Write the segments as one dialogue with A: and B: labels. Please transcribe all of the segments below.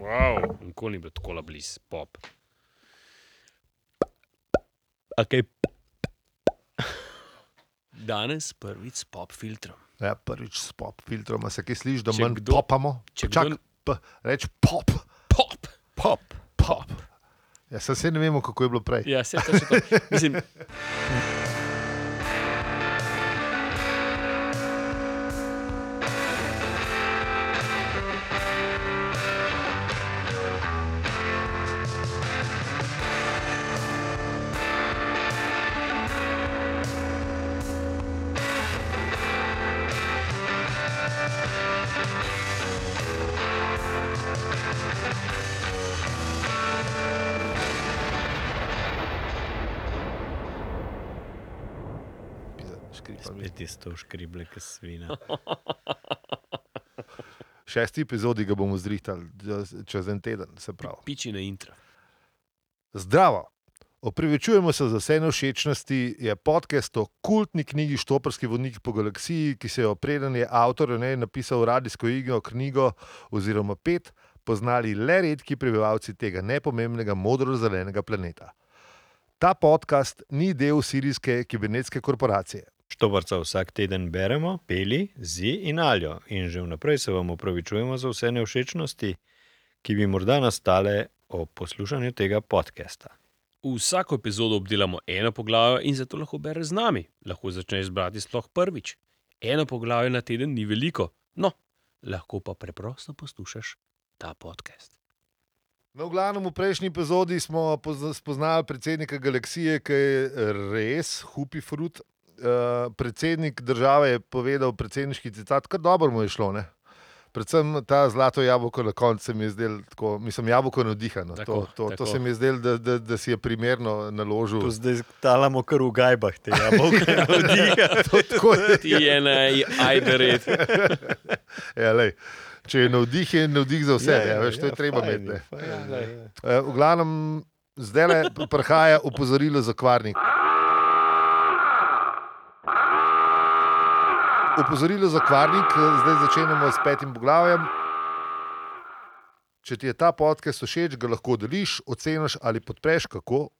A: Wow, nikoli ni bil tako blizu pop.
B: Okay.
A: Danes prvič s pop filtrom.
C: Ja, prvič s pop filtrom, a se kaj sliši, da
A: Če
C: manj
A: kdo-
C: popamo.
A: če
C: Čak,
A: kdo-
C: p- reč pop,
A: Pop!
C: pop, pop. Ja, saj se ne vemo, kako je bilo prej.
A: Ja, se to še to. Mislim, Ja.
C: Pizda, škripa mi.
B: Spet je to škrible, ki svina.
C: Šesti epizodi ga bomo zrihtali d- čez en teden, se pravi.
A: piči na intro.
C: Zdravo! Opravičujemo se za vse nevšečnosti. Je podcast o kultni knjigi Štoprski vodnik po galaksiji, ki se je opreden je avtor o njej napisal radijsko igro, knjigo oziroma pet, poznali le redki prebivalci tega nepomembnega modro-zelenega planeta. Ta podcast ni del sirijske kibernetske korporacije.
B: Štobarca vsak teden beremo, peli, zi in aljo. In že vnaprej se vam opravičujemo za vse nevšečnosti, ki bi morda nastale ob poslušanju tega podcasta.
A: Vsako epizodo obdelamo eno poglavje in zato lahko bereš z nami. Lahko začneš brati sploh prvič. Eno poglavje na teden ni veliko, no, lahko pa preprosto poslušaš ta podcast.
C: No, v glavnem, v prejšnji epizodi smo pozna- spoznali predsednika galaksije, ki je res hupi frut. Uh, predsednik države je povedal predsedniški citat, kar dobro mu je šlo. Ne? Predvsem ta zlato jabolko na koncu se mi je zdelo tako, mislim, jabolko nadihano.
A: Tako,
C: to, to,
A: tako.
C: to se mi je zdelo, da, da, da si je primerno naložil.
B: To zdaj talamo kar v gajbah, te jabolke navdiha.
C: To je tako,
A: Ti je na ajde red.
C: ja, lej, če je navdih, je navdih za vse. Ja, ja, veš, to je treba
B: fajn je,
C: imeti. ne.
B: fajn ja. je.
C: Eh, V glavnem, zdaj le prihaja opozorilo za kvarnik. Opozorilo za kvarnik, eh, zdaj začenjamo s petim poglavjem. Če ti je ta podcast všeč, ga lahko deliš, oceniš ali podpreš, kako.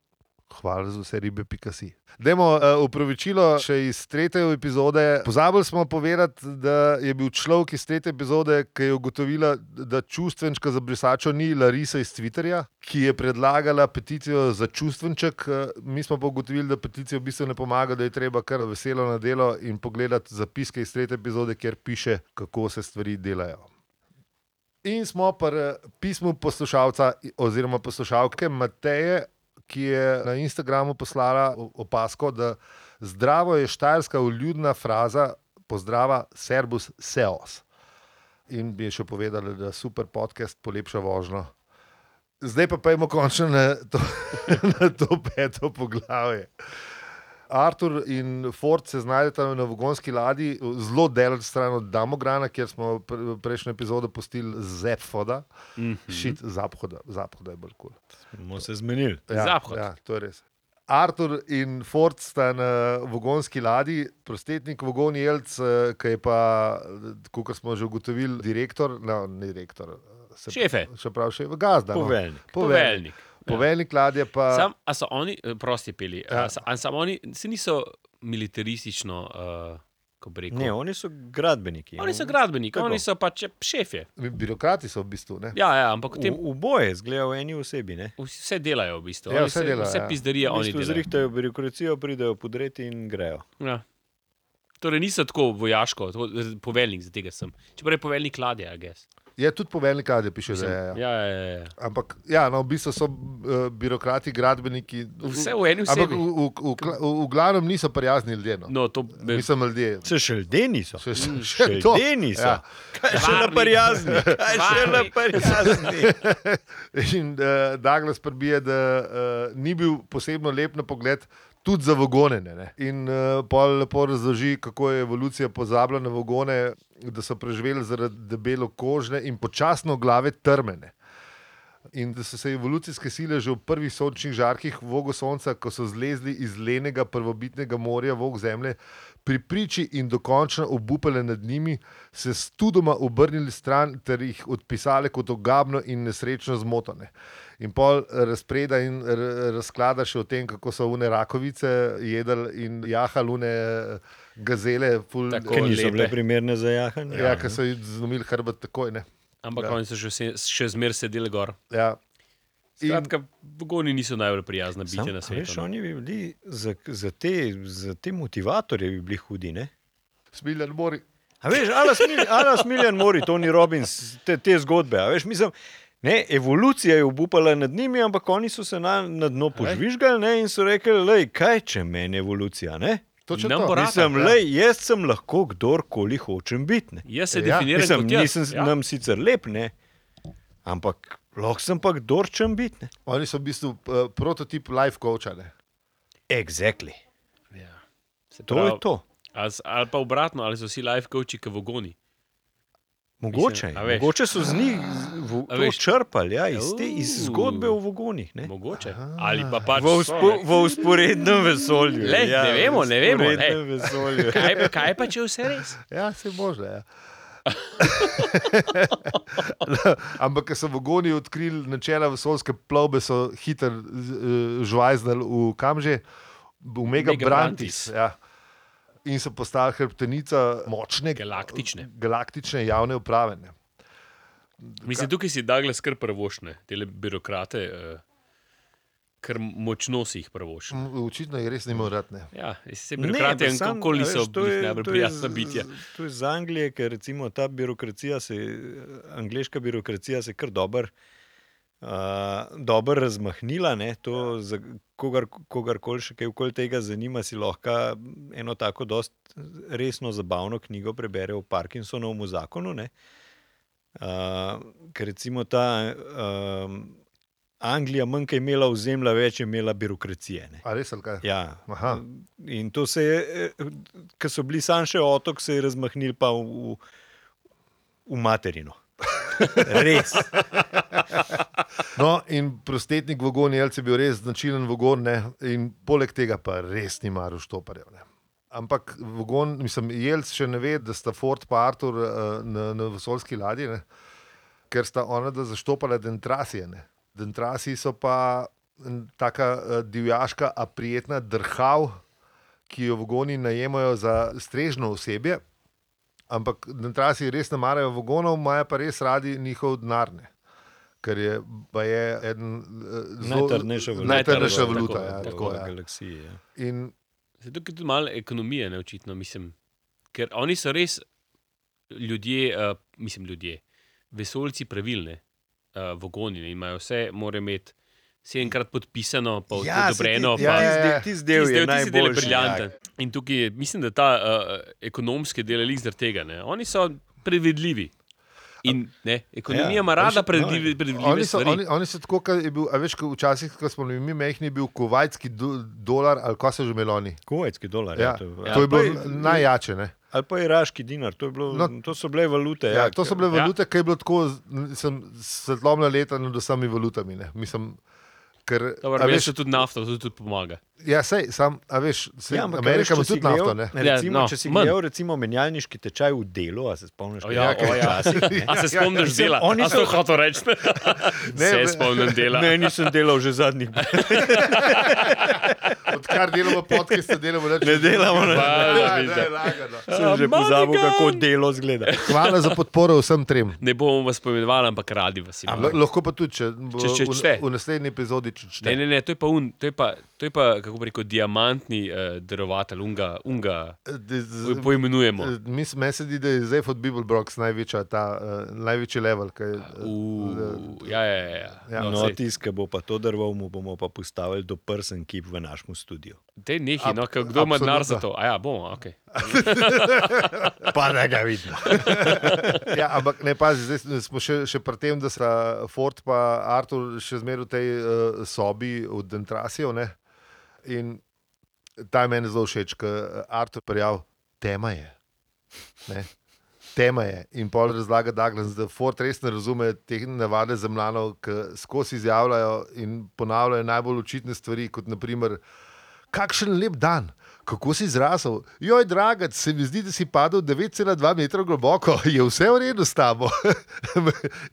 C: Hvala za vse ribe, pika si. Demo eh, upravičilo še iz tretje epizode. Pozabili smo povedati, da je bil človek iz tretje epizode, ki je ugotovila, da čustvenčka za brisačo ni Larisa iz Twitterja, ki je predlagala peticijo za čustvenček. Eh, Mi smo pa ugotovili, da peticija v bistvu ne pomaga, da je treba kar veselo na delo in pogledati zapiske iz tretje epizode, kjer piše, kako se stvari delajo. In smo pri eh, pismu poslušalca i- oziroma poslušalke Mateje, ki je na Instagramu poslala o- opasko, da zdravo je štajerska uljudna fraza pozdrava Serbus Seos. In bi še povedali, da super podcast polepša vožnjo. Zdaj pa pojmo končno na to, na to peto poglavje. Artur in Ford se znajdeta na vagonski ladji, zelo daleč stran od Damograna, kjer smo pre- prejšnjo epizodo postili Zephoda,
A: Mhm.
C: šit Zaphoda, Zaphoda je bolj kul. Cool.
B: Smo se zmenili.
A: Zaphod.
C: Ja, to je res. Artur in Ford sta na vagonski ladji, prostetnik Vogon Jelc, eh, ki je pa, kot smo že ugotovili, direktor, no, ne direktor. se-
A: Šefe.
C: Še prav še v gazda.
B: Poveljnik.
C: No. Poveljnik.
A: Poveljnik. ja.
C: Poveljnik ladje pa.
A: Sam, a so oni, eh, prosti peli,
C: Ja.
A: ja. a samo oni, se niso militaristično, uh, ko bi rekel.
B: Ne, oni so gradbeniki.
A: Oni so gradbeniki,
B: Tako.
A: oni so pač šefje.
C: Birokrati so v bistvu. Ne?
A: Ja, ja, ampak potem
B: V, v boje zgledajo v eni osebi. Ne?
A: vse delajo v bistvu.
C: Ja,
A: Oni
C: vse
A: se-
C: delajo,
A: Vse
C: ja.
A: pizderije
B: V
A: oni
B: bistvu
A: delajo.
B: zrihtajo birokracijo, pridejo podreti in grejo.
A: Ja. Torej niso tako vojaško, tako, eh, poveljnik za tega sem. Čeprav je poveljnik ladje, a gess.
C: Je tudi poveljnik ladje, piše. Da, je, ja.
A: Ja, ja, ja, ja.
C: Ampak ja, no, v bistvu so uh, birokrati, gradbeniki.
A: Vse v eni
C: Ampak
A: osebi.
C: v, v, v, kla- v, v glavnem niso prijazni ljudje. No.
A: No, Mm. to bi
C: Mislim, ljudje.
B: Se še ljudje niso.
C: Še, še, še to.
B: Šeldeni so.
C: Ja.
B: Ja. Kaj še
A: Varni.
B: naprijazni, kaj še
A: Varni.
B: naprijazni.
C: In uh, Douglas prbije, da uh, ni bil posebno lep na pogled, tudi za vagonene. Ne? In uh, pol lepo razloži, kako je evolucija pozabila na vagone, da so preživeli zaradi debelo kožne in počasno glave trmene. in da so se evolucijske sile že v prvih sončnih žarkih vogo sonca, ko so zlezli iz lenega prvobitnega morja vog zemlje, pri priči in dokončno obupale nad njimi, se studoma obrnili stran ter jih odpisali kot ogabno in nesrečno zmotane. In pol razpreda in r- razklada še o tem, kako so une rakovice jedli in jahali une eh, gazele, ful,
A: Tako,
B: Ker
A: Ko
B: niso
A: lepe.
B: bile primerne za jahanje.
C: ja, ki so jih zlomili hrbet takoj. Ne?
A: Ampak
C: Ja.
A: ja. oni so še, vse- še zmeraj sedeli gor.
C: Ja. In-
A: Skratka, Bogoni niso najbolj prijazna
B: Sam,
A: bitja na
B: a veš,
A: svetu. no.
B: oni bi bili za, za, te, za te motivatorje bi bili hudi. Ne?
C: Smiljan mori.
B: A veš, Alas Miljan Mori, Tony Robbins, te, te zgodbe. a Veš, mislim, ne, evolucija je obupala nad njimi, ampak oni so se na, na dno požvižgali ne, in so rekli, lej, kaj če meni evolucija. Ne?
C: Točno
A: Nam
C: to.
A: bo rad.
B: Mislim,
C: ja.
B: lej, jaz sem lahko kdorkoli hočem biti. ne.
A: Jaz se
C: Ja,
A: ja, definiram
B: Mislim,
A: kot jaz.
B: nisem ja. nam sicer lep, ne? ampak lahko sem pa kdorčem biti. ne.
C: Oni so v bistvu eh, prototip life coacha. Ne?
B: Exactly.
A: ja. Se
B: To
A: pravi,
B: je to.
A: Ali, s- ali pa obratno, ali so vsi life coachi, ki vogoni.
B: Mogoče,
A: Mislim, a
B: Mislim,
A: veš.
B: mogoče so z njih z- v-
A: A
B: to
A: veš.
B: črpali, ja, iz, te, iz
A: Uuu.
B: zgodbe o vogonih. Ne?
A: Mogoče. Ali pa pač.
B: Eh, V,
A: so,
B: uspo,
A: ne.
B: v usporednem vesolju.
A: Le,
B: ja,
A: ne vemo,
B: v
A: ne vemo, ne.
B: Usporednem vesolju.
A: Kaj, pa- kaj pa, če je vse res?
C: Ja, se možne. Ja. Ampak, ker so vogoni odkrili načela vesolske plovbe, so hitro eh, žvajznali v kam že, v Mega
A: Mega
C: Brantis.
A: Brantis.
C: Ja. In so postali hrbtenica močne
A: Galaktične.
C: galaktične javne uprave. Ne.
A: Mislim, tukaj si Douglas kar prvošne, te birokrate, eh, kar močno si jih prvošne.
C: M, Očitno je res ne more ratne.
A: Ja, se
B: Ne,
A: birokrate
B: pa
A: in
B: sam,
A: kakoli
B: a veš,
A: so
B: to je-
A: bili najbolj
B: to je
A: prijazna
B: z-
A: bitja.
B: z- To je iz Anglije, ker recimo ta birokracija, se, angliška birokracija se je kar dober. Uh, Dobro razmahnila, ne,
A: Ja.
B: to za kogar, kogarkoli še kaj okoli tega zanima, si lahko eno tako dost resno, zabavno knjigo prebere o Parkinsonovem zakonu. Ne. Uh, ker recimo ta um, Anglija, manj je imela ozemlja, več je imela birokracije. Ne.
C: A res ali kaj?
B: Ja,
C: Aha.
B: In to se je, ki so bili sam še otok, se je razmahnil pa v, v materino. Res.
C: No, in prostetnik vagon Jelce je bil res značilen vagon, ne? in poleg tega pa res ni maru štoparjev. Ne? Ampak vagon, mislim, Jelce še ne ve, da sta Ford in Artur eh, na, na vesoljski ladji, ne? ker sta ona da zaštopala dentrasije. Ne? Dentrasi so pa en taka eh, divjaška, a prijetna drhav, ki jo vagoni najemajo za strežno osebje. Ampak dentrasi res ne marajo vagonov, imajo pa res radi njihov denarne ker je, baje je eden eh, zelo-
B: Najtrdnejša valuta.
C: najtrdnejša
A: Tako,
C: valuta.
A: tako,
C: ja,
A: tako,
C: tako,
B: v
C: ja.
B: galaksiji. Ja.
C: In
A: Se tukaj tudi malo ekonomije, ne očitno, mislim. Ker oni so res ljudje, uh, mislim, ljudje, vesoljci pravilne, uh, vogoni, ne, imajo vse, mora imeti sedemkrat podpisano, pa
B: Ja,
A: ja,
B: se ti-
A: odobreno.
B: Ja,
A: pa-
B: tisti del- tisti del
A: Tisti del, tisti
B: je
A: del je
B: najboljši, ja.
A: briljanten. In tukaj je, mislim, da ta uh, ekonomski del je lik zaradi tega. Ne? Oni so predvidljivi. In, ne, ekonomija
B: Ja,
A: ima rada
B: oni so-
A: predvidljive, predvidljive
C: oni so,
A: stvari.
C: oni, oni so tako, kot je bil, a veš, ko včasih, ko smo bili mi mehni, je bil kuvajtski do, dolar ali kaj so že meloni.
B: Kuvajtski dolar.
C: Ja,
B: Ja, to,
C: to je
B: ali pa
C: bilo najjače. Ne?
B: Ali pa iraški dinar, to, je bilo,
C: No.
B: no, to so bile valute.
C: Ja, to so bile
A: ja.
C: valute, ki je bilo tako z- sem, svetlomna leta nad vsemi valutami. Ne? Mislim, ker,
A: Dobro,
C: a
A: meni
C: veš,
A: se tudi nafta, to tudi pomaga.
C: ja, sej, sam, a veš, sej,
B: Ja,
C: ja,
B: ampak,
C: Amerika
B: a
C: ima
B: veš, če
C: tudi
B: si gledal-
C: nafto. Ne?
B: Recimo,
A: Ja, no,
B: če si
A: manj.
B: gledal recimo, menjalniški tečaj v delu, a se spomniš,
A: O ja,
B: kaj je
A: o ja. A se spomniš
B: Mislim,
A: dela?
B: oni
A: A
B: so-
A: to hotel reči?
C: Ne,
A: Se
C: ne.
A: spomnim dela.
B: Ne, nisem delal že zadnjih
C: Odkar delamo podke, se delamo več.
B: Ne delamo, ne.
C: Ja,
A: Hvala,
C: ne, lagano.
B: Sem že
A: Amerikan!
B: pozabil, kako delo zgleda.
A: Eh,
C: Hvala za podporo vsem trem.
A: Ne bomo vas pomenovali, ampak radi vas imamo.
C: L lahko pa tudi, če,
A: Če- če
C: v-
A: čte.
C: v naslednji epizodi če čte.
A: Ne, ne, ne, to je pa un, to je pa, to je pa kako bi rekel, diamantni uh, darovatelj, unga, unga
C: Eh, D- z-
A: po- poimenujemo.
C: eh, mis- Meni se zdi, da je zdaj od Bible Brox največja, ta, uh, največji level. Kaj,
A: Ja. Uh, ja, ja, ja, ja.
C: Ja,
A: No,
B: No,
A: saj-
B: tisti, ki bo pa to drval, mu bomo pa postavili do prsten kip v našem studiu.
A: Te nehi,
C: Ab-
A: no, ka- kdo ima denar za to?
C: absolutno.
A: A ja, bomo, ok.
B: Pa da ga vidimo.
C: ja, ampak ne pazi, zdaj smo še, še pri tem, da sta Ford in Artur še zmeraj v tej uh, sobi od Dentrasijo. Ne? In eh, ta je meni zelo všeč, ker Artur prijavil, tema je. Ne? Tema je in pol razlaga Douglas, da Ford res ne razume te navade zemljanov, ki skozi izjavljajo in ponavljajo najbolj očitne stvari, kot naprimer, kakšen lep dan. Kako si zrasel? Joj, dragec, se mi zdi, da si padel 9,2 metra globoko, je vse v redu s tabo.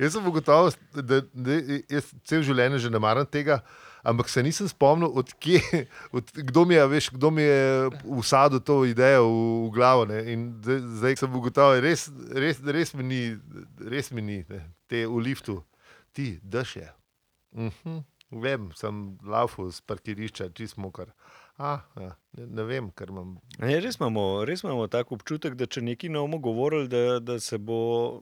C: jaz sem ugotovil, da, da jaz cel življenje že ne maram tega, ampak se nisem spomnil, odkje, od, kdo, mi je, veš, kdo mi je usadil to idejo v, v glavo. Ne? In zdaj, zdaj sem ugotovil, res, res, res mi ni, res mi ni ne? te v liftu, ti, daš je. Uh -huh. Vem, sem laufal z parkirišča, čist mokar. Ah, ja, ne, ne vem, ker imam.
B: Ne, res imamo, res imamo tak občutek, da če nekaj ne bomo govorili, da, da se bo.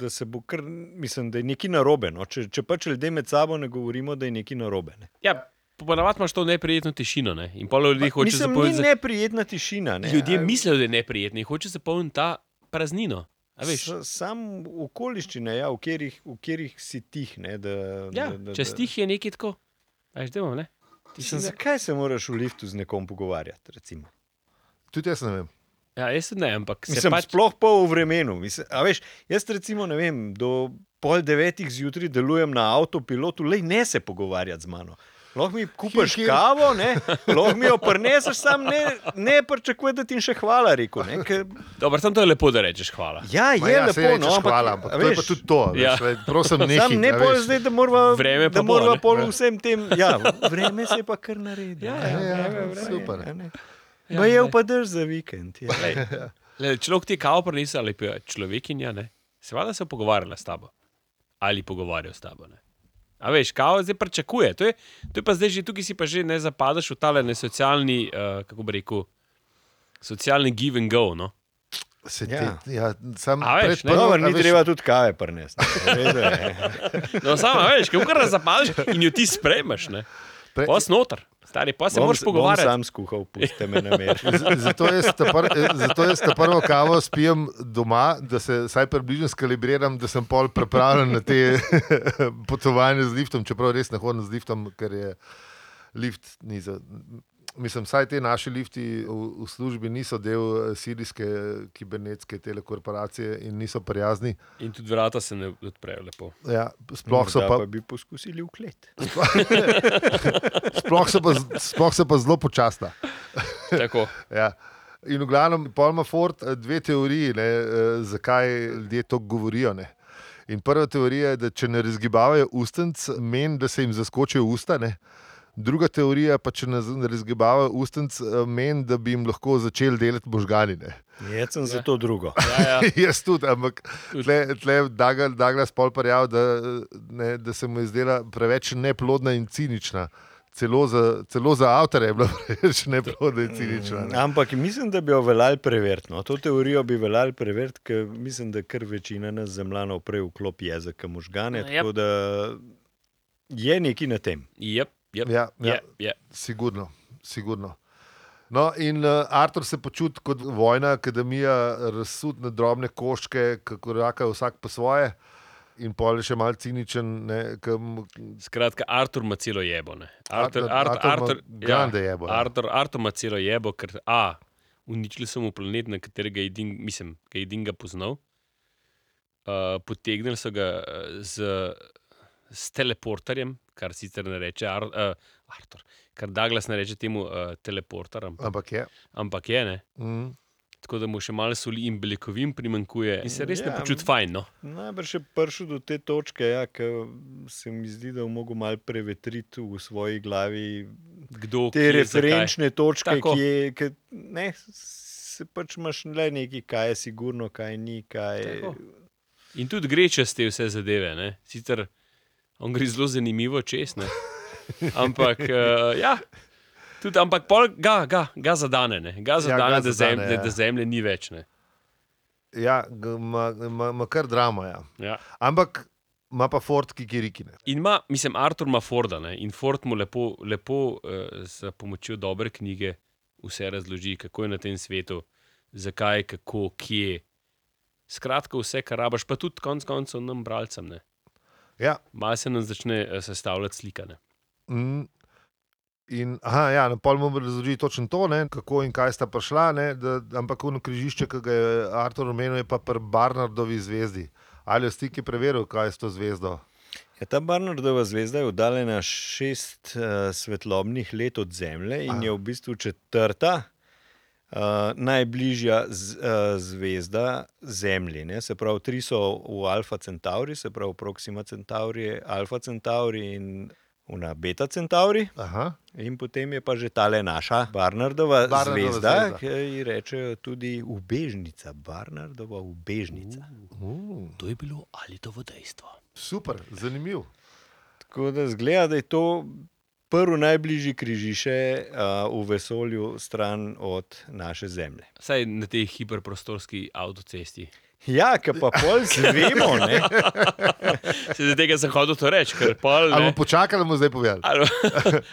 B: Da se bo kar, mislim, da je nekaj narobe. No? Če, če pač ljudje med sabo ne govorimo, da je nekaj narobe. Ne?
A: Ja, ponavadi imaš to neprijetno tišino ne? in pol ljudi hoče
B: mislim, ni
A: zapolniti.
B: neprijetna tišina. Ne?
A: Ljudje
B: A-
A: mislijo, da je neprijetno in hoče zapolniti ta praznino. A veš?
B: S- Sam okoliščine, ja, v, katerih, v katerih si tih. Ne, da,
A: Ja,
B: da, da,
A: če stih je nekaj tako, veš, demo, ne? Ti sem,
B: Mislim,
A: se-
B: zakaj se moraš v liftu z nekom pogovarjati? Recimo?
C: Tudi jaz ne vem.
A: ja, jaz tudi ne, ampak se
B: Mislim,
A: pač,
B: pač... Sploh pa v vremenu. Mislim, a veš, jaz recimo ne vem, do pol devetih zjutraj delujem na avtopilotu, le ne se pogovarjati z mano. Lahko mi kupiš
C: Kir, kir.
B: kavo, ne, lahko mi jo prineseš, sam ne, ne pričakuj, da ti in še hvala rekel. Ne, ker,
A: dobro, tam to je lepo, da rečeš hvala.
B: ja, je
C: Ma ja,
B: lepo,
C: saj rečeš
B: no, ampak,
C: hvala, ampak to je pa tudi to.
A: Ja.
C: Ja. Veš, lej, prosim, nehaj.
B: Sam ne
C: a
B: bo
C: veš.
B: zdaj, da moramo
A: Vreme pa
B: da
A: bo,
B: morava
A: ne.
B: pol vsem tem. Ja, vreme se je pa kar naredi.
A: Ja,
B: ne.
A: ja,
C: Ja,
A: vreme,
C: vreme. super.
B: a ne.
A: Ja,
B: Ma je
A: ne.
B: upadaš za vikend. Ja.
A: Lej, le, človek ti je kavo prinesel ali pa človekinja, ne? seveda se je pogovarjala s tabo ali pogovarjal s tabo. Ne? A veš, kavo zdaj pričakuje. To je, to je pa zdaj že tukaj, si pa že ne zapadaš v tale ne socialni, uh, kako bi rekel, socialni give and go. No?
C: Se te,
B: Ja.
C: ja. Ja, sam
A: A veš,
C: pred
A: ne.
C: prvim-
B: Dobro,
C: a
B: ni
C: veš,
B: treba tudi kave prnesti.
A: No, samo a veš, kako kar zapadaš in jo ti sprejmeš. Ne?
C: pre-
A: Pos noter, stari, pa se
B: Bom-
A: moraš
B: bom
A: pogovarjati.
B: Sam skuhal, pusti me na mir.
C: Z- Zato jaz, ta pr, eh, zato jaz ta prvo kavo spijem doma, da se vsaj približno skalibriram, da sem pol pripravljen na te potovanja z liftom, čeprav res ne hodim z liftom, ker je lift ni za. Mislim, vsaj te naši lifti v, v službi niso del eh, sirijske kibernetske telekorporacije in niso prijazni.
A: In tudi vrata se ne odprejo lepo.
C: Ja, sploh, so
B: Morda
C: pa,
B: bi poskusili uklet.
C: sploh, so pa, z- sploh so pa zelo počasna.
A: Tako.
C: Ja. In v glavnem, Palma Ford, eh, dve teoriji, ne, eh, zakaj ljudje to govorijo. Ne. In prva teorija je, da če ne razgibavajo ustenc, meni, da se jim zaskočijo usta. Ne. Druga teorija pa, če ne z- ne razgibavajo ustenc, eh, meni, da bi jim lahko začeli delati možgani. Ne.
B: Jaz sem za to drugo.
A: Ja, ja.
C: Jaz tudi, ampak
A: Tudi.
C: tle, tle Dagal- Douglas pol parjav, da, eh, ne, da se mu je zdela preveč neplodna in cinična. Celo za, celo za avtorje je bila preveč neplodna in cinična. Ne.
B: Ampak mislim, da bi jo veljali preveriti. No. To teorijo bi veljali preveriti, ker mislim, da kar večina nas zemljanov prej vklopi jezik, možgane.
A: Ja.
B: Tako da je nekaj na tem.
A: Yep, yep,
C: Ja, ja.
A: yep, yep.
C: Sigurno, sigurno. No, in uh, Artur se počuti kot vojna, akademija, razsud na drobne koščke, kako rakajo vsak po svoje. In pol je še malo ciničen, ne, kam,
A: Skratka, Artur ima celo jebo. ne. Artur-
C: Artur-
A: Artur-
C: Artur ima
A: Artur- ja.
C: grande jebo, ja. ne.
A: Artur- Artur ima celo jebo, ker A, uničili so mu planet, na katerega je edin, mislim, ga je edin ga poznal. Uh, potegnili so ga eh, z, s teleporterjem, kar sicer ne reče Ar, uh, Artur, kar Douglas ne reče temu uh, teleporter, ampak,
C: ampak je.
A: ampak je ne.
C: Mm.
A: Tako da mu še malo soli in beljakovin primankuje in se res
B: Ja,
A: ne počuti fajn. No?
B: Najbrž je prišel do te točke, ja, ko se mi zdi, da je mogel malo prevetriti v svoji glavi
A: Kdo,
B: te
A: kje, zakaj.
B: referenčne točke,
A: Tako.
B: ki je, ki, ne, se pač imaš le nekaj, kaj je sigurno, kaj ni. Kaj
A: Tako. Eh, In tudi gre čez te vse zadeve. Ne? Sicer on gre zelo zanimivo čez. Ne? Ampak, uh, ja, tudi, ampak pol ga, ga, ga zadane, ne? ga zadane, ja, ga da, zadane zemlje, ja. da zemlje ni več. Ne?
C: Ja, ga ima- ima ima kar drama. Ja.
A: Ja.
C: Ampak ima pa Ford, ki je rikine.
A: In ima, mislim, Artur ima Forda ne? in Ford mu lepo, lepo uh, s pomočjo dobre knjige vse razloži, kako je na tem svetu, zakaj, kako, kje. Skratka, vse, kar rabaš, pa tudi konec koncev nam bralcem. ne.
C: Ja.
A: Malo se nam začne eh, sestavljati slika. Ne?
C: Mm. In, aha, ja, na pol bomo razložili točno to, ne, kako in kaj sta prišla, ne, da, ampak ono križišče, ki ga je Artur omenil, je pa pri Barnardovi zvezdi. Ali je stik je preveril, kaj je s to zvezdo?
B: Ja, ta Barnardova zvezda je oddaljena šest uh, svetlobnih let od Zemlje in
C: Aha.
A: Ah.
B: Aha. je v bistvu četrta uh, najbližja z, uh, zvezda Zemlji. Ne? Se pravi, tri so v Alfa Centauri, se pravi Proxima Centauri, Alfa Centauri in una Beta Centauri.
C: Aha,
B: In potem je pa že tale naša Barnardova,
C: Barnardova
B: Barnardova zvezda,
C: zvezda.
B: zvezda, ki ji rečejo tudi ubežnica, Barnardova ubežnica.
C: uh,
A: To je bilo ali to v dejstvo.
C: super, zanimiv.
B: Tako da zgleda, da je to prvo najbližje križišče uh, v vesolju, stran od naše Zemlje.
A: Saj na tej hiperprostorski avtocesti.
B: Ja, ki pa pol zvemo, ne?
A: Se zdaj tega zahodu to reče, ker pol.
C: Ali
A: ne.
C: bomo počakali, bomo zdaj povedali.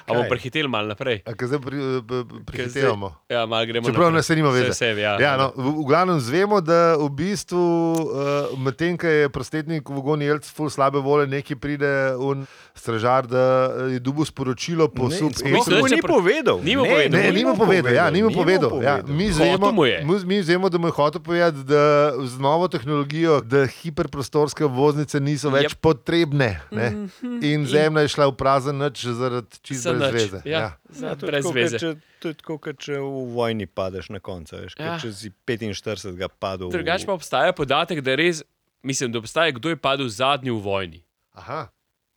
A: Ali bomo
B: Kaj?
A: prehiteli malo naprej.
C: A kaj zdaj pri, eh, pri, prihitevamo?
A: Ja, malo gremo
C: Čeprav
A: naprej.
C: nas se nima
A: Saj
C: veze.
A: sebi, ja.
C: Ja, no, v, v glavnem znemo, da v bistvu, uh, medtem ko je prostetnik v Goni Jelc, ful slabe vole, neki pride un stražar, da eh, je dubu sporočilo po
B: Ne,
C: sub
B: sploh
A: Mislim, da
B: mu
A: se
B: ni
A: pr-
B: povedal.
A: Ni mu
B: Ne,
A: povedal.
C: Ne,
B: mu
A: Ni
C: nimo povedal, ja, nimo
B: ni mu
C: povedal. Ja, mi
A: Hotel
C: zvemo,
A: mu je.
C: mu- mi zvemo, da mu je hotel povedati, da z novo tehnologijo, da hiperprostorske obvoznice niso več
A: Jep.
C: potrebne. Ne?
B: Mhm.
C: In zemlja je šla v prazen noč zaradi čiste
A: Za nič,
C: zveze.
A: Ja, za
B: Ja, to je
A: brez
B: tako, kot
A: veze.
B: Če, to je tako, kot če v vojni padeš na koncu. Veš,
A: Ja.
B: ja. Če si 45, ga padel. v-
A: Drugač pa obstaja podatek, da res, mislim, da obstaja, kdo je padel zadnji v vojni.
C: Aha,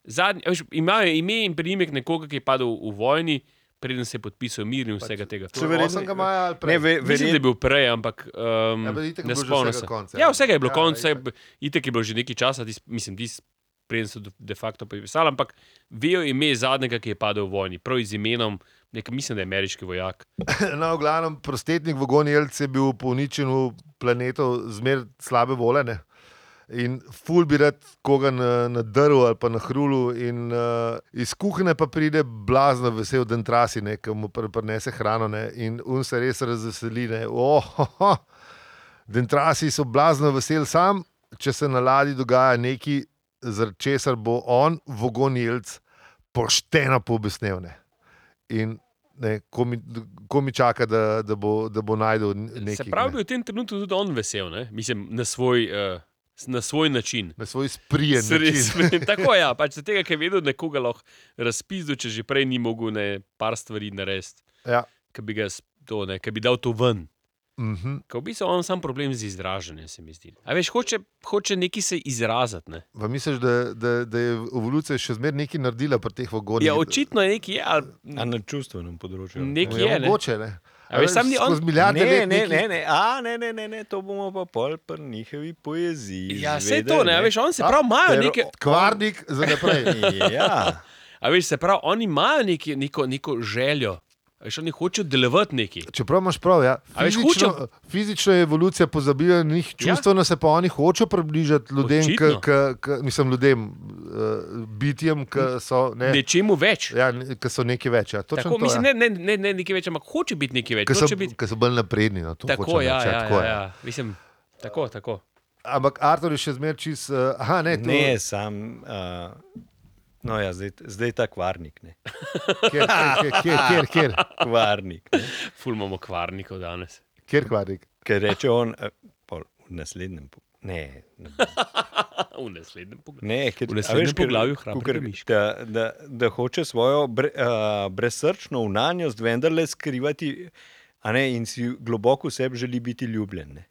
A: Zadnji, a veš, imajo ime in priimek nekoga, ki je padel v vojni, preden se je podpisal mir in vsega tega.
C: to
B: Se
C: je
B: verjetno-
C: 8. maja ali prej.
B: Ne, ve,
A: Verjetno je
B: verjetno.
A: bil prej, ampak um,
C: Ja, pa itak je
A: ne
C: bilo že
A: spomnim se.
C: vsega konca,
A: ja,
C: ja.
A: vsega je bilo
C: Ja,
A: konec,
C: itak.
A: itek je bilo že nekaj časa, tis, mislim, tis, preden so do- de facto podpisali, ampak vejo ime zadnjega, ki je padel v vojni, prav z imenom, nek, mislim, da je ameriški vojak.
C: No, v glavnem, prostetnik v Gonjelcu je bil po uničenju planetov zmer slabe volene. In ful bi rad koga na, na drvu ali pa na hrulu, in uh, iz kuhinje pa pride blazno vesel Dentrasi, ne, ki mu pr prinese hrano ne, in un se res razveseli. Ne, oh, ho, ho. Dentrasi so blazno veseli sam, če se na ladji dogaja nekaj, zaradi česar bo on, vogonilc, pošteno pobesnel. Ne. In ne, ko, mi, ko mi čaka, da, da, bo, da bo najdel nekaj.
A: Se pravi,
C: ne,
A: bil je v tem trenutku tudi on vesel, ne? mislim, na svoj, uh, na svoj način.
C: na svoj sprijen. način.
A: Sredi- Tako je, ja, pač se tega, ker je vedel, da nekoga lahko razpizdu, če že prej ni mogel ne par stvari narediti,
C: Ja.
A: ki bi, ga s- to, ne, ki bi dal to ven.
C: Mhm.
A: Ko bi se on sam problem z izražanjem, se mi zdi. A veš, hoče, hoče neki se izraziti. Ne?
C: Pa misliš, da, da, da je evolucija še zmeraj nekaj naredila pri teh vagonih?
A: Ja, očitno je neki, je, ali
B: A na čustvenem področju.
A: nek
C: Ja,
A: je. Ne?
C: Mogoče, ne.
A: A veš, sam ni on-
C: Skozi milijarde
B: Ne,
C: let
B: ne,
C: nekaj-
B: ne, ne, a, ne, ne, ne, ne, to bomo pa pol pri njihovi poeziji.
A: Ja, vse
B: izvedeli,
A: to, ne, a veš, on se
C: Ja,
A: prav imajo
B: ker-
A: neke.
C: Kvarnik za naprej.
B: Ja,
A: A veš, se prav, oni imajo neki, neko, neko željo. A Veš, oni hočejo delovati neki.
C: Čeprav imaš prav, ja.
A: A veš,
C: fizično,
A: hočem-
C: fizično je evolucija pozabila na njih, čustveno ja. se pa oni hočejo približati ljudem,
A: Očitno.
C: k, k, k, mislim, ljudem, uh, bitjem, ki so, ne,
A: Nečemu več.
C: ja, ne- ki so nekaj več. Ja. Točno
A: Tako,
C: to,
A: mislim,
C: ja.
A: ne, ne, ne, ne nekaj več, ampak hoče biti nekaj več.
C: Ki so,
A: Hoče biti
C: ki so bolj napredni. No, to
A: tako,
C: hočem
A: ja,
C: reči,
A: ja, ja,
C: tako je.
A: ja. Mislim, tako, tako.
C: Ampak Artur je še zmeraj čist. Uh, aha, ne, to,
B: ne, sam. Uh, no, ja, zdaj, zdaj ta kvarnik. Ne.
C: Kjer, kjer, kjer, kjer, kjer,
B: Kvarnik. Ne.
A: Fulmamo kvarnikov danes.
C: kjer kvarnik.
B: Ker reče on, eh, pol, v naslednjem. po- Ne, ne,
A: V naslednjem pogledu.
B: ne ker,
A: V
B: a
A: naslednjem
B: veš, ker-
A: poglavju Hrabri
B: kakor-
A: miški.
B: da, da, da hoče svojo bre, uh, brezsrčno unanjost vendarle skrivati a ne, in si globoko v sebi želi biti ljubljen. Ne.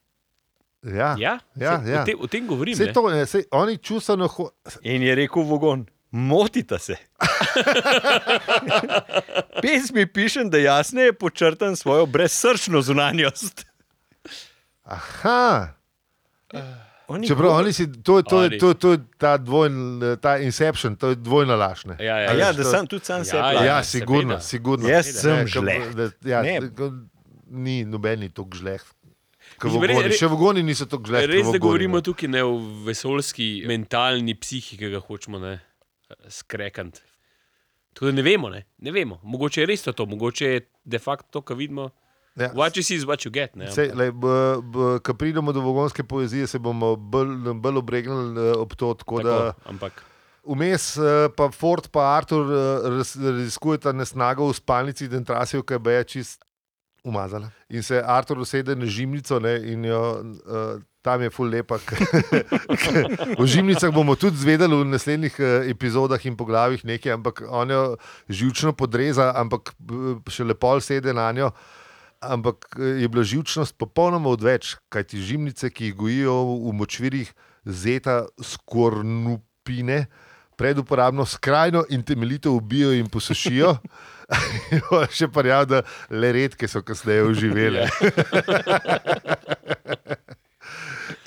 C: Ja,
A: Ja,
C: ja,
A: saj
C: ja.
A: O, te, o tem govorim.
C: Vse
A: ne.
C: to, ne, sej, oni čustveno ho-
B: In je rekel Vogon, motite se. Pesmi pišem, da jasneje počrtam svojo brezsrčno zunanjost.
C: Aha.
B: Oni
C: Čeprav oni si, to je, to je,
A: Oni-
C: to je, to je ta, dvojn, ta inception, to je dvojna laž. ne.
A: Ja, ja,
B: A
A: ja.
B: ja, da sem tudi sam
A: Ja,
B: sebe.
A: ja,
C: ja
B: lažem.
C: sigurno,
A: seveda.
C: sigurno.
B: Jaz
C: Ne,
B: sem
C: ko-
B: žleht.
C: da- Ja,
B: Ne.
C: ko- ni nobeni tako žleht. Kot
A: Mislim, re-
C: vogoni.
A: re-
C: Še vogoni niso tako žlehti.
A: Res, da govorimo
C: no.
A: tukaj ne o vesoljski, mentalni psihi, ki ga hočemo ne, eh, skrekant. Tako da ne vemo, ne, ne vemo. Mogoče je res to, to, mogoče je de facto to, kar vidimo.
C: Ja.
A: What you see is what you get. Ne,
C: Sej, lej, b, b, ko pridemo do vogonske poezije, se bomo bolj bolj obregnili eh, ob to, tako, tako. da
A: ampak
C: Vmes eh, pa Ford in Artur eh, raz- raziskujeta nesnago v spalnici Dentrasijo, ki je čist umazala. In se Artur usede na žimnico ne, in jo. eh, Tam je ful lepa. ker- ker o žimnicah bomo tudi zvedeli v naslednjih eh, epizodah in poglavjih nekaj, ampak on jo živčno podreza, ampak eh, še lepo sedi na njo. Ampak eh, je bila živčnost popolnoma odveč, kajti žimnice, ki jih gojijo v v močvirih, zeta skornupine, preduporabno skrajno in temeljito ubijo in posušijo. In pol še pa jav, da le redke so kasneje oživele.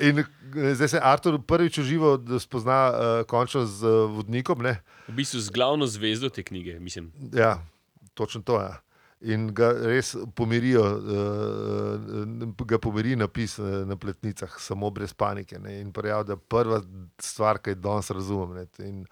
C: In eh, zdaj se Artur prvič uživa, da spozna uh, končno z eh, vodnikom. Ne?
A: V bistvu z glavno zvezdo te knjige, mislim.
C: Ja, točno to je. Ja. In ga res pomirijo, uh, ga pomiri napis eh, na pletnicah, samo brez panike. Ne? In pravi, da je prva stvar, ki jo danes razumem. Ne? In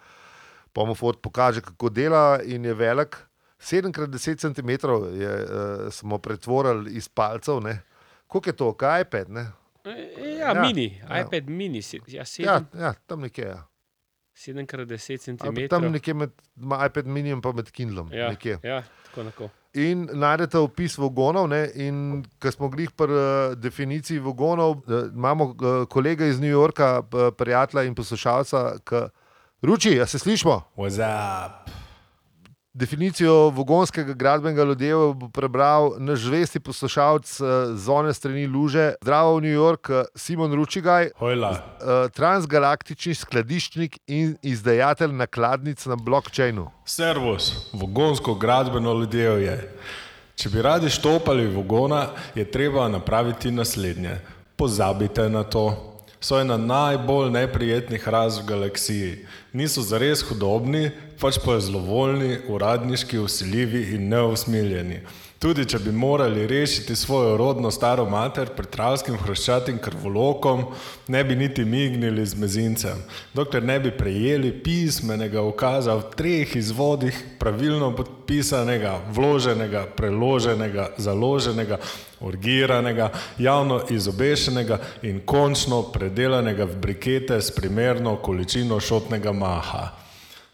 C: Pomofort pokaže, kako dela in je velik. 7x10 cm je uh, smo pretvorili iz palcev. ne. Koliko je to, kaj iPad? Ne?
A: E, e, Ja,
C: Ja,
A: ja mini,
C: ja.
A: ja. iPad mini, se- ja,
C: Ja,
A: 7
C: ja, tam nekje. Ja.
A: krat 10
C: Ali pa Tam
A: cm.
C: nekje med ma- iPad minijem in med Kindlom.
A: Ja,
C: nekje.
A: ja, tako enako.
C: In najdete opis vogonov. Ne, in ko smo glih pri uh, definiciji vogonov, uh, imamo uh, kolega iz New Yorka, p- prijatelja in poslušalca, ki ruči, a se slišmo.
D: What's up?
C: Definicijo vogonskega gradbenega lodeva bo prebral naš zvesti poslušalec eh, z one strani luže, zdravo v New York, eh, Simon Ručigaj.
D: Hojla.
C: eh, transgalaktični skladiščnik in izdajatelj nakladnic na blockchainu.
D: Servus, vogonsko gradbeno ledevje. Če bi radi štopali vogona, je treba napraviti naslednje. Pozabite na to. So ena najbolj neprijetnih raz v galaksiji. Niso zares hudobni, pač pa je zlovoljni, uradniški, usiljivi in neusmiljeni. Tudi če bi morali rešiti svojo rodno staro mater pred tralskim hroščatim krvolokom, ne bi niti mignili z mezincem, dokler ne bi prejeli pismenega ukaza v treh izvodih, pravilno podpisanega, vloženega, preloženega, založenega, urgiranega, javno izobešenega in končno predelanega v brikete s primerno količino šotnega maha.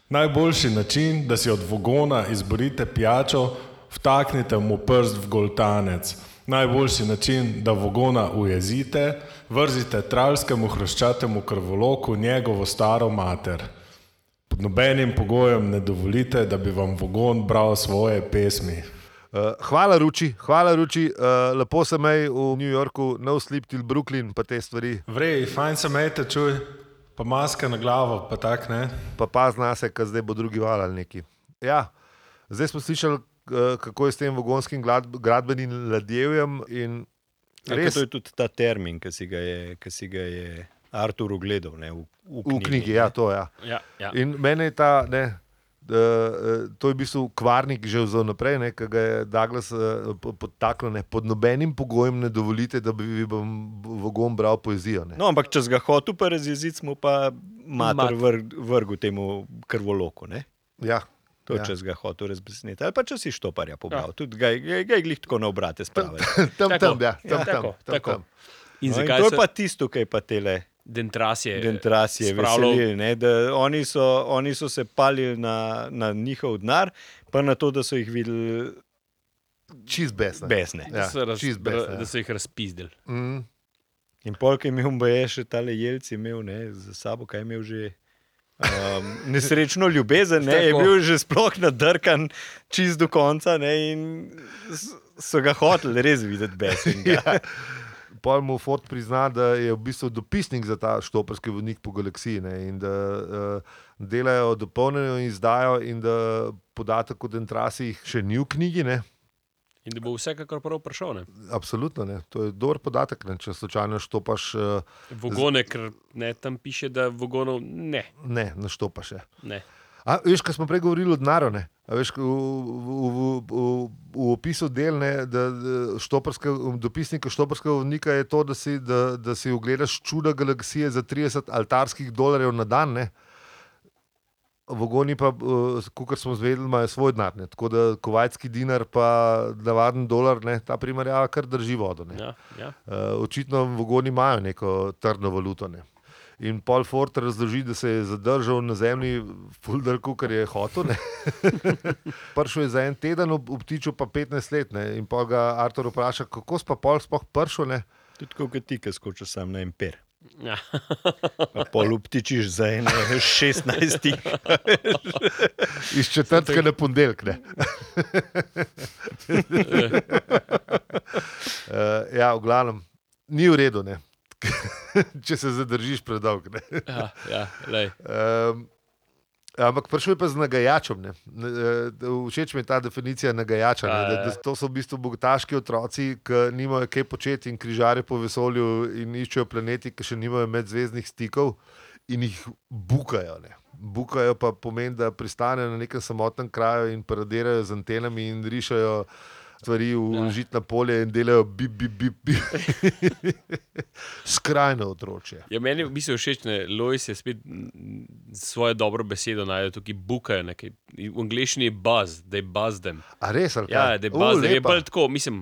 D: Najboljši način, da si od vogona izborite pijačo, vtaknite mu prst v goltanec. Najboljši način, da vogona ujezite, vrzite tralskemu hroščatemu krvoloku njegovo staro mater. Pod nobenim pogojem ne dovolite, da bi vam vogon bral svoje pesmi.
C: Eh, Hvala, Ruči, hvala, Ruči. eh, lepo se mej v New Yorku, no sleep till Brooklyn, pa te stvari,
D: Vrej, fajn se mejte, čuj, pa maska na glavo, pa tak ne.
C: pa pa zna se, kaj zdaj bo drugi val ali neki. Ja, zdaj smo slišali, eh, kako je s tem vogonskim glad- gradbenim ladjevjem. in
B: Res.
C: Res,
B: Ja, To je tudi ta termin, ki si ga je, ki si ga je Artur ogledal ne, v, v knjigi.
C: v knjigi, ja, to je. Ja.
A: Ja, ja.
C: In meni je ta, ne, eh, eh, to je v bistvu kvarnik že vzel naprej, ne, ki ga je Douglas eh, po- podtaknil. Ne, pod nobenim pogojem ne dovolite, da bi vi vam vogon bral poezijo. Ne.
B: No, ampak če si ga hotel pa razjeziti, smo pa
A: Mater.
B: mater vr, vrgu temu krvoloku. Ne?
C: Ja,
B: To,
C: ja.
B: ja. Če si ga hotel razbesniti, ali pa če si štoparja pobral, ja. tudi ga je ga je glih tako na obrate spravil.
C: tam,
A: Tako,
C: tam, ja, tam,
A: ja.
C: tam,
A: Tako,
C: tam,
A: tako.
C: tam.
A: In
B: No, in
A: zakaj
B: to
A: so
B: je pa tisto, kar je pa tele.
A: dentrasje?
B: Dentras je
A: spravljal-
B: veselil, ne, da oni so, oni so se palili na, na njihov denar, pa na to, da so jih videli
C: Čist besne.
B: besne.
A: Da
C: Ja,
A: so, raz,
C: čist besne,
A: da
C: ja.
A: so jih razpizdili.
C: Mm,
B: In polk je imel, je še tale jelci imel, ne, za sabo, kaj je imel že. Um, nesrečno ljubezen, ne, je
A: Tako.
B: bil že sploh nadrkan, čist do konca, ne, in s- so ga hoteli res videti besnega.
C: ja. Pol mu Ford prizna, da je v bistvu dopisnik za ta štoprski vodnik po galaksiji ne, in da uh, delajo dopolnjeno izdajo, in da podatek o Dentrasih še ni v knjigi. Ne.
A: In da bo vsekakor prav prišel. Ne?
C: Absolutno ne. To je dober podatek, ne? če slučajno štopaš, eh,
A: Vogone, ker ne, tam piše, da vogonov ne.
C: ne, ne štopaš. ja. Je.
A: ne.
C: A, veš, kaj smo prej govorili o denarju, ne? A veš, ko v, v, v, v, v opisu delne, da, da štoparske, dopisnika štoparskega vodnika je to, da si, da, da si ogledaš čuda galaksije za 30 altarskih dolarjev na dan. Ne? Vogoni pa, kot smo zvedeli, imajo svoj denar. ne. Tako da kovajski dinar, pa navaden dolar, ne? ta primerjava kar drži vodo. Ne?
A: Ja, ja.
C: Uh, očitno vogoni imajo neko trdno valuto. Ne. In Paul Ford razloži, da se je zadržal na zemlji, fulder, kot je hotel. ne. prišel je za en teden, ob- obtičil pa 15 let. Ne? In pa ga Artur vpraša, kako si pa Paul sploh prišel. Ne?
B: Tudi tako, kot ti, ki skočiš sam na empir.
A: Ja.
B: Pa pol uptičiš za eno 16.
C: Iz četrtka na ponedeljek. ne. Eh, ja, v glavnem, ni v redu, ne. če se zadržiš predolgo. ne.
A: Ja, ja, lej.
C: Um, ampak prišel je pa z nagajačem. Ne. Ne, eh, Všeč mi je ta definicija nagajača.
A: Ja,
C: Ne, da, da to so v bistvu bogataški otroci, ki nimajo kaj početi in križare po vesolju in iščejo planeti, ki še nimajo medzvezdnih stikov in jih bukajo. Ne. Bukajo pa pomeni, da pristanejo na nekem samotnem kraju in paradirajo z antenami in rišajo. Stvari
A: Ja.
C: v žitna polja in delajo, bi, bi, bi, bi. skrajno otročje.
A: Ja, meni v bistvu všeč, da Lois je spet mm, svojo dobro besedo najdel, tukaj bukajo nekaj. V angleščini je buzz, da je buzz them.
C: A res, ali
A: Ja,
C: kaj?
A: da je
C: U,
A: buzz them. Je
C: lepa.
A: bolj tako, mislim,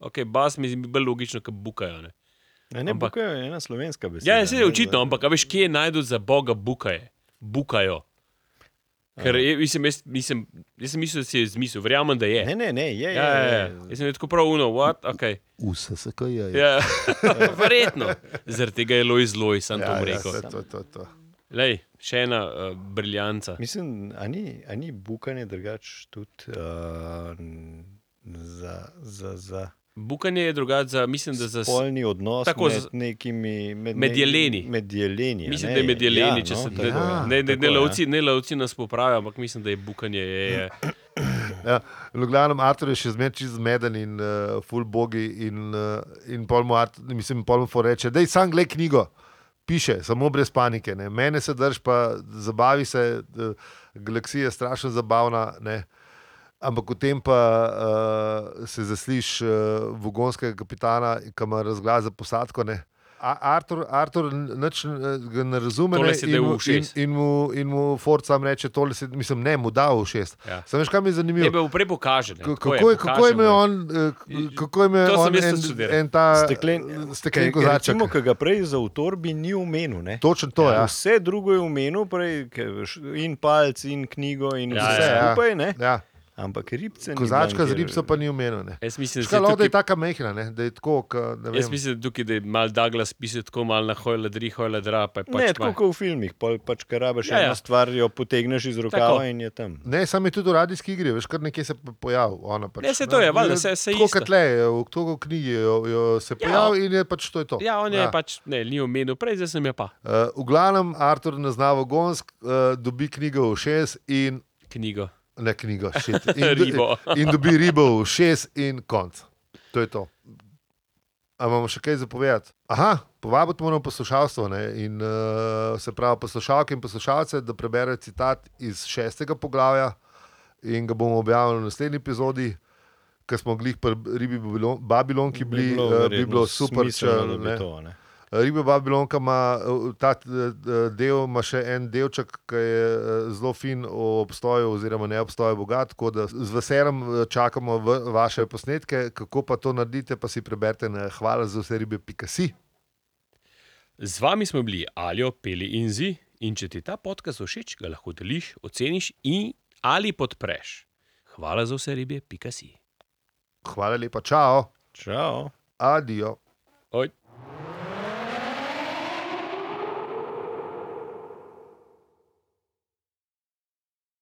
A: ok, buzz mi je bolj logično, kot bukajo. Ne?
B: Ne, ne,
A: Ampak-
B: ampak je ena slovenska beseda.
A: Ja, ja, se
B: ne,
A: je očitno, ampak a veš, kje je najdel za boga bukaje, bukajo. Ker je, mislim, jaz, mislim, jaz sem mislil, da si je zmislil, verjamem, da je.
B: Ne, ne, ne, je,
A: Ja, ja, ja.
B: je, je.
A: Jaz sem bil tako prav uno, what? Okay.
C: Vse se kaj je.
A: Ja. Verjetno. Zaradi tega je Lois Lois, sem ja, to rekel.
C: saj to, to, to.
A: Lej, še ena uh, briljanca.
B: Mislim, a ni, a ni bukanje drugače tudi uh, n- za, za, za
A: Bukanje je drugače, za- mislim, da za spolno.
B: polni odnos
A: tako
B: med
A: za-
B: nekimi. Med,
A: med
B: ne-
A: jeleni.
B: Med jeleni. a
A: Mislim,
B: ne?
A: da je med jeleni,
B: ja,
A: če
B: no,
A: se
B: tako,
A: ne,
B: ja,
A: ne, ne,
B: tako,
A: ne,
B: ja.
A: lovci, ne lovci nas popravijo, ampak mislim, da je bukanje. Je, je.
C: Ja, v glavnem, Artur je še zmeraj čez zmeden in uh, full bogi. In, uh, in polmo, mislim, polmo reče, da je sam gled knjigo, piše, samo brez panike. Ne. Mene se drž, pa zabavi se, uh, galaksija je strašno zabavna. Ne. Ampak v tem pa uh, se zasliš uh, vogonskega kapitana, ki ima razglas za posadko. Ne. A- Artur, Artur nič, eh, ga ne razume,
A: Tole
C: ne,
A: se da
C: in, mu,
A: v
C: in,
A: ušes.
C: in, mu, in mu Ford sam reče: tole se, mislim, ne, mu da v šest.
A: Ja.
C: Sam veš, kaj mi je zanimivo.
A: Ne, bo prej pokaže. ne,
C: K-
A: tako
C: Kako je, kako je
A: pokaže mu
C: imel on, eh, k- kako je imel
A: To sem
C: on
A: jaz
C: en,
A: tudi študiral.
C: en ta
B: Steklen,
C: steklen
B: ker-
C: kozarček?
B: Recimo, ki ga prej za utorbi ni umenil. Ne?
C: Točno to, ja.
B: Vse drugo je umenil, prej, ke veš, in palc, in knjigo,
A: Ja,
B: in ja, vse
A: ja,
C: ja.
B: ja, skupaj. Ne?
C: ja.
B: Ampak ribce. ni
C: Kozačka
B: bilo
C: z
B: nikjer.
C: ribco pa ni umenil. ne.
A: Jaz mislim, da se
C: Škoda, da
A: tukaj-
C: je taka mehna, ne, da je tako. ka- ne
A: Jaz
C: vem.
A: mislim, da tukaj da je mal Douglas pisal tako mal na hojla, dri, hojla, dra. Pa je pač
B: Ne, tako
A: mal-
B: kot v filmih, pol pač kar rabiš
A: Ja,
B: ja,
A: ja.
B: eno stvar, jo potegneš iz rokava
A: Tako.
B: tako. in je tam.
C: Ne, sam je tudi v radijski igri, veš, kar nekje se je pojavi. ona Pač,
A: Ne, saj to je, valjda, saj- saj
C: Tako
A: isto.
C: kot le, je v to knjigi jo, jo se
A: Ja.
C: pojavi in je pač to je to.
A: Ja, on je ja. pač, ne, ni omenil, prej zdaj sem je pa
C: Eh, v glavnem, Artur ne zna vogonsk, eh, dobi knjigo v šest in
A: knjigo.
C: ne knjigo, šit.
A: Ribo.
C: in dobi ribo v šest in konc. To je to. Ali imamo še kaj zapovedati? Aha, povabiti moramo poslušalstvo ne? in uh, se pravi poslušalke in poslušalce, da preberejo citat iz šestega poglavja in ga bomo objavili v naslednji epizodi. Ker smo glih pri ribi Babilon, Babilonki bili,
B: bilo
C: eh, bi
B: verjetno
C: bilo super, če
B: smiselno, da bi
C: ne.
B: to, ne.
C: Ribe Babilonka ima eh, ta eh, del, ima še en delček, ki je eh, zelo fin o obstoju oziroma ne obstoju Boga. Tako da z veseljem eh, čakamo v, vaše posnetke, kako pa to naredite, pa si preberite na hvala za vse ribe, pika si.
A: Z vami smo bili Aljo, Peli in Zi. In če ti ta podcast všeč, ga lahko deliš, oceniš in ali podpreš. Hvala za vse ribje, pika si.
C: Hvala lepa, čau,
B: Čau.
C: adijo.
A: Oj.